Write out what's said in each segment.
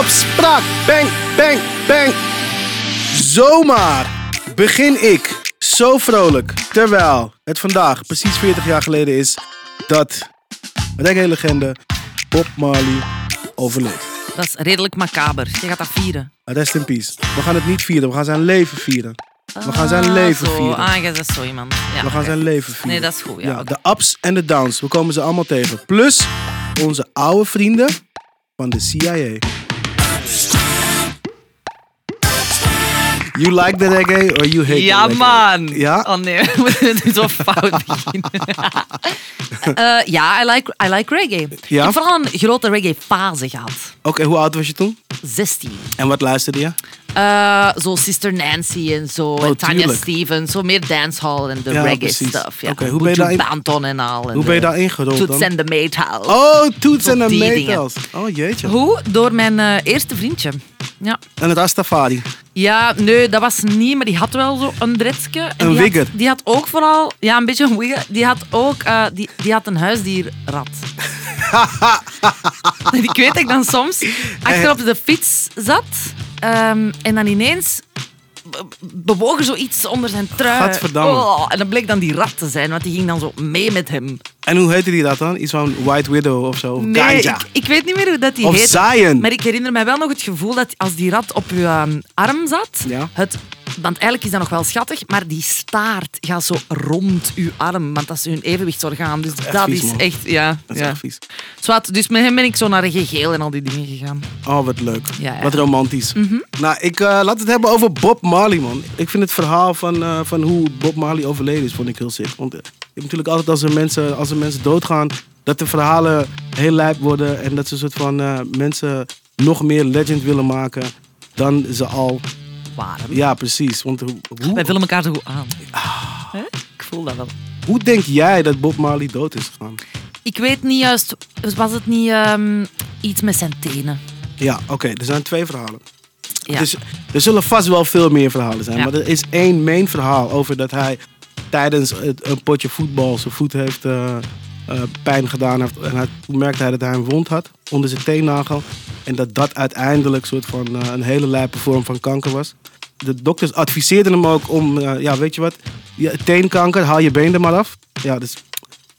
Opspraak. Bang, bang, bang. Zomaar begin ik zo vrolijk. Terwijl het vandaag precies 40 jaar geleden is dat met een legende Bob Marley overleed. Dat is redelijk macaber. Je gaat dat vieren. Rest in peace. We gaan het niet vieren, we gaan zijn leven vieren. We gaan zijn Ah, leven zo. vieren. Ah, jij bent zo iemand. Ja, We gaan oké. zijn leven vieren. Nee, dat is goed. Ja, oké. de ups en de downs, we komen ze allemaal tegen. Plus onze oude vrienden van de CIA. You like the reggae or you hate Ja, the reggae? man. Ja? Oh nee, we moeten nu zo fout beginnen. Eh, ja, I like, I like reggae. Ja? Ik heb vooral een grote reggae-fase gehad. Oké, hoe oud was je toen? 16. En wat luisterde je? Eh, zo Sister Nancy en zo. en Tanya Oh, tuurlijk. Stevens. Zo meer dancehall en de Ja, reggae precies. stuff. Ja. Oké, hoe ben je Buju daar- Banton en al. en Hoe ben je de daar ingerold Toots dan? en de Meethouse. Oh, toets en Tot de die dingen. metals. Oh, jeetje. Hoe? Door mijn eh, eerste vriendje. Ja. En het Astafari. Ja, nee, dat was niet, maar die had wel zo een dretsje. En Een die wigger. Had, die had ook vooral, ja, een beetje een wigger. Die had ook, eh, die, die had een huisdierrat. en ik weet dat ik dan soms Eh. achter op de fiets zat ehm, en dan ineens be- bewoog er zoiets onder zijn trui. Gadverdamme. Oh, en dat bleek dan die rat te zijn, want die ging dan zo mee met hem. En hoe heette die dat dan? Iets van White Widow of zo? Of Nee, Ganja. ik, ik weet niet meer hoe dat die Of heet. Zion. Maar ik herinner mij wel nog het gevoel dat als die rat op je ehm, arm zat, Ja. het, want eigenlijk is dat nog wel schattig, maar die staart gaat zo rond uw arm, want dat is hun evenwichtsorgaan. Dus dat, echt vies, is man. echt, ja. Dat is ja. echt vies. Zwat, dus met hem ben ik zo naar GGL en al die dingen gegaan. Oh, wat leuk. Ja, Mhm. ja. Wat romantisch. Nou, ik, eh laat het hebben over Bob Marley, man. Ik vind het verhaal van, eh, van hoe Bob Marley overleden is, vond ik heel sick. Want eh, je hebt natuurlijk altijd als er mensen, als er mensen doodgaan, dat de verhalen heel lijp worden. En dat ze een soort van eh, mensen nog meer legend willen maken dan ze al. Waarom? Ja, precies. Want hoe, Wij hoe, vullen elkaar zo goed aan. Ah. Hè? Ik voel dat wel. hoe denk jij dat Bob Marley dood is gegaan? Ik weet niet juist, was het niet ehm, iets met zijn tenen? Ja, oké. er zijn twee verhalen. Ja. Dus er zullen vast wel veel meer verhalen zijn. Ja. Maar er is één main verhaal over dat hij tijdens het, een potje voetbal zijn voet heeft eh, eh, pijn gedaan. Heeft, en hij, toen merkte hij dat hij een wond had onder zijn teennagel. En dat dat uiteindelijk soort van, eh, een hele lijpe vorm van kanker was. De dokters adviseerden hem ook om, eh, ja weet je wat, ja, teenkanker, haal je been er maar af. Ja, dus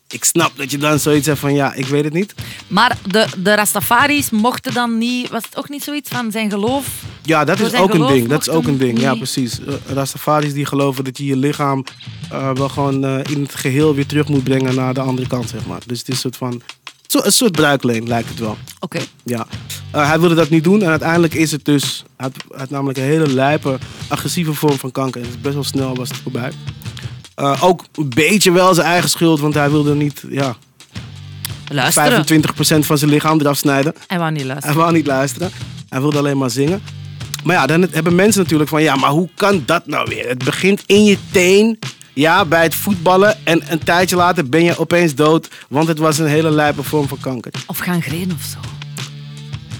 ik snap dat je dan zoiets hebt van, ja, ik weet het niet. Maar de, de Rastafaris mochten dan niet, was het ook niet zoiets van zijn geloof? Ja, dat Door is zijn ook een geloof ding. Dat mocht is ook hem een ding. Ja, niet- precies. Eh, Rastafaris die geloven dat je je lichaam eh, wel gewoon eh, in het geheel weer terug moet brengen naar de andere kant, zeg maar. Dus het is een soort van. Zo, een soort bruikleen lijkt het wel. Oké. Ja. Eh, hij wilde dat niet doen en uiteindelijk is het dus. Hij had, hij had namelijk een hele lijpe, agressieve vorm van kanker. En het is best wel snel was het voorbij. Eh, ook een beetje wel zijn eigen schuld, want hij wilde niet ja, 25% Luisteren. van zijn lichaam eraf snijden. Hij wou niet Hij luisteren. wou niet luisteren. Hij wilde alleen maar zingen. Maar ja, dan hebben mensen natuurlijk van... Ja, maar hoe kan dat nou weer? Het begint in je teen. Ja, bij het voetballen. En een tijdje later ben je opeens dood. Want het was een hele lijpe vorm van kanker. Of gaan green of zo.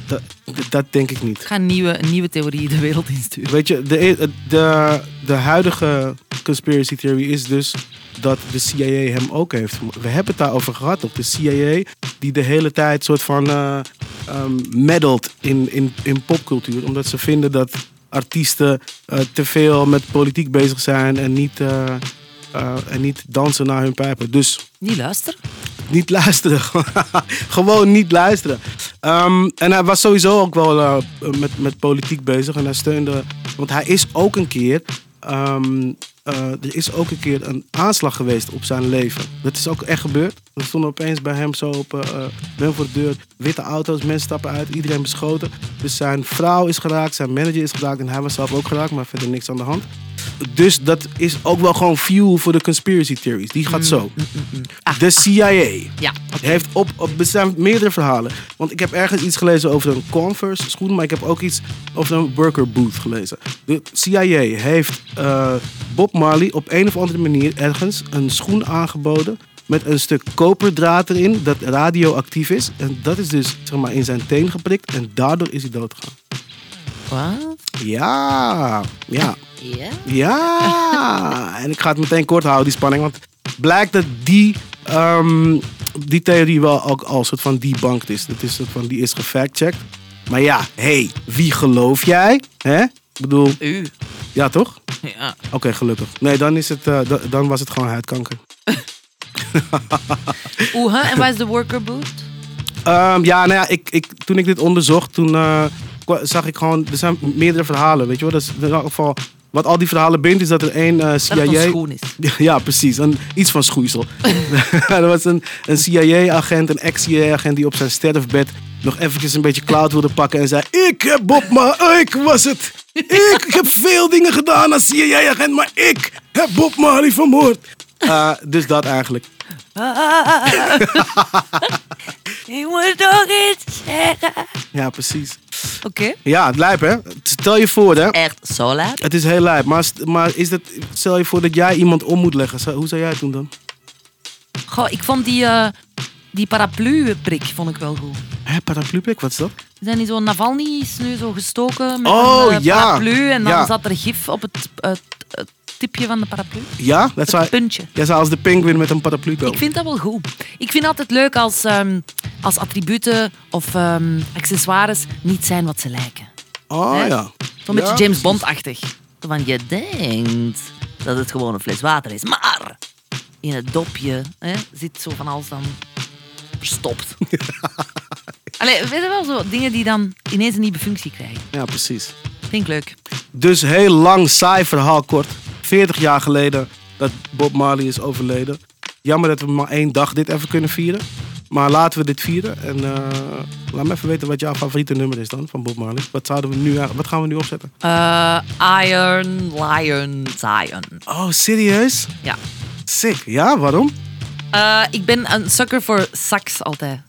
Dat, dat denk ik niet. Ik ga een nieuwe, een nieuwe theorie de wereld insturen. Weet je, de, de, de huidige conspiracy theory is dus dat de CIA hem ook heeft. We hebben het daarover gehad, op de CIA die de hele tijd soort van eh ehm, meddelt in, in, in popcultuur. Omdat ze vinden dat artiesten eh, te veel met politiek bezig zijn en niet, eh, eh, en niet dansen naar hun pijpen. Dus Niet luisteren? niet luisteren. Gewoon niet luisteren. Ehm, en hij was sowieso ook wel eh, met, met politiek bezig. En hij steunde. Want hij is ook een keer. ehm, eh, er is ook een keer een aanslag geweest op zijn leven. Dat is ook echt gebeurd. Er stonden opeens bij hem zo op. eh, eh, bij hem voor de deur. Witte auto's, mensen stappen uit, iedereen beschoten. Dus zijn vrouw is geraakt, zijn manager is geraakt. En hij was zelf ook geraakt, maar verder niks aan de hand. Dus dat is ook wel gewoon fuel voor de conspiracy theories. Die gaat zo. De CIA. Ja. Heeft op, op, er zijn meerdere verhalen. Want ik heb ergens iets gelezen over een Converse schoen, maar ik heb ook iets over een worker booth gelezen. De CIA heeft eh, Bob Marley op een of andere manier ergens een schoen aangeboden met een stuk koperdraad erin dat radioactief is. En dat is dus zeg maar, in zijn teen geprikt en daardoor is hij doodgegaan. Wat? Ja, ja. Ja? Ja, en ik ga het meteen kort houden, die spanning. Want blijkt dat die, ehm, die theorie wel ook al soort van debunked is. Dat is soort van, die is gefactcheckt. Maar ja, hey, wie geloof jij? Hè? Ik bedoel, U. ja toch? Ja. Oké, gelukkig. Nee, dan, is het, eh, da- dan was het gewoon huidkanker. Oeh, hè? en waar is de worker boot? Ehm, ja, nou ja, ik, ik, toen ik dit onderzocht, toen eh, kwa- zag ik gewoon... Er zijn meerdere verhalen, weet je wel. Dat is, in elk geval, wat al die verhalen bindt, is dat er één eh Dat het CIA... een schoen is. Ja, precies. Een, iets van schoeisel. er was een, een CIA-agent, een ex-CIA-agent... die op zijn sterfbed nog eventjes een beetje cloud wilde pakken... en zei, ik heb Bob, maar ik was het. Ik heb veel dingen gedaan als CIA-agent... maar ik heb Bob Marley vermoord. Eh, dus dat eigenlijk. Ah. Ik moet nog iets zeggen. Ja, precies. Oké. Ja, het lijp, hè? Stel je voor, hè? Echt zo laat? Het is heel lijp, maar, st- maar is dat, stel je voor dat jij iemand om moet leggen. Zou- Hoe zou jij het doen dan? Goh, ik vond die, eh, die paraplu-prik vond ik wel goed. Hé, paraplu-prik, wat is dat? Zijn die zo Navalny is nu zo gestoken met Oh, een eh, ja. paraplu en dan Ja. zat er gif op het, het, het tipje van de paraplu. Ja, dat zou, Het puntje. jij zou als de penguin met een paraplu komen. Ik vind dat wel goed. Ik vind altijd leuk als, ehm, als attributen of ehm, accessoires niet zijn wat ze lijken. oh hè? ja. Zo'n beetje Ja, James Bond-achtig. Zo Van je denkt dat het gewoon een fles water is, maar in het dopje hè, zit zo van alles dan verstopt. Allee, weet je wel, zo dingen die dan ineens een nieuwe functie krijgen. Ja, precies. Vind ik leuk. Dus heel lang, saai verhaal kort. 40 jaar geleden dat Bob Marley is overleden. Jammer dat we maar één dag dit even kunnen vieren. Maar laten we dit vieren. En eh, laat me even weten wat jouw favoriete nummer is dan van Bob Marley. Wat, zouden we nu, eigenlijk- wat gaan we nu opzetten? Eh, Iron Lion Zion. Oh, serieus? Ja. Sick. Ja, waarom? Eh, ik ben een sucker voor sax altijd.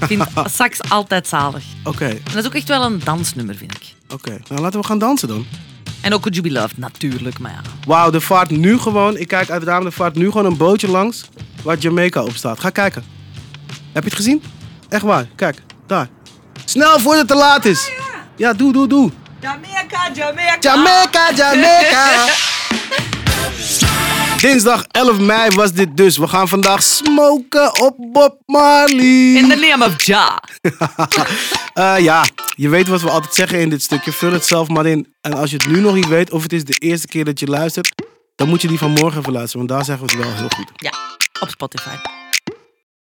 ik vind sax altijd zalig. Oké, En dat is ook echt wel een dansnummer, vind ik. oké. Nou, laten we gaan dansen dan. En ook Could You Be Loved, natuurlijk, maar ja. Wauw, er vaart nu gewoon, ik kijk uit het raam, er vaart nu gewoon een bootje langs waar Jamaica op staat. Ga kijken. Heb je het gezien? Echt waar, kijk, daar. Snel voordat het te laat is. Ja, doe, doe, doe. Jamaica, Jamaica. Jamaica, Jamaica. Dinsdag 11 mei was dit dus. We gaan vandaag smoken op Bob Marley. In the name of Ja. Eh, ja, je weet wat we altijd zeggen in dit stukje. Vul het zelf maar in. En als je het nu nog niet weet, of het is de eerste keer dat je luistert, dan moet je die van morgen even luisteren, want daar zeggen we het wel heel goed. Ja, op Spotify.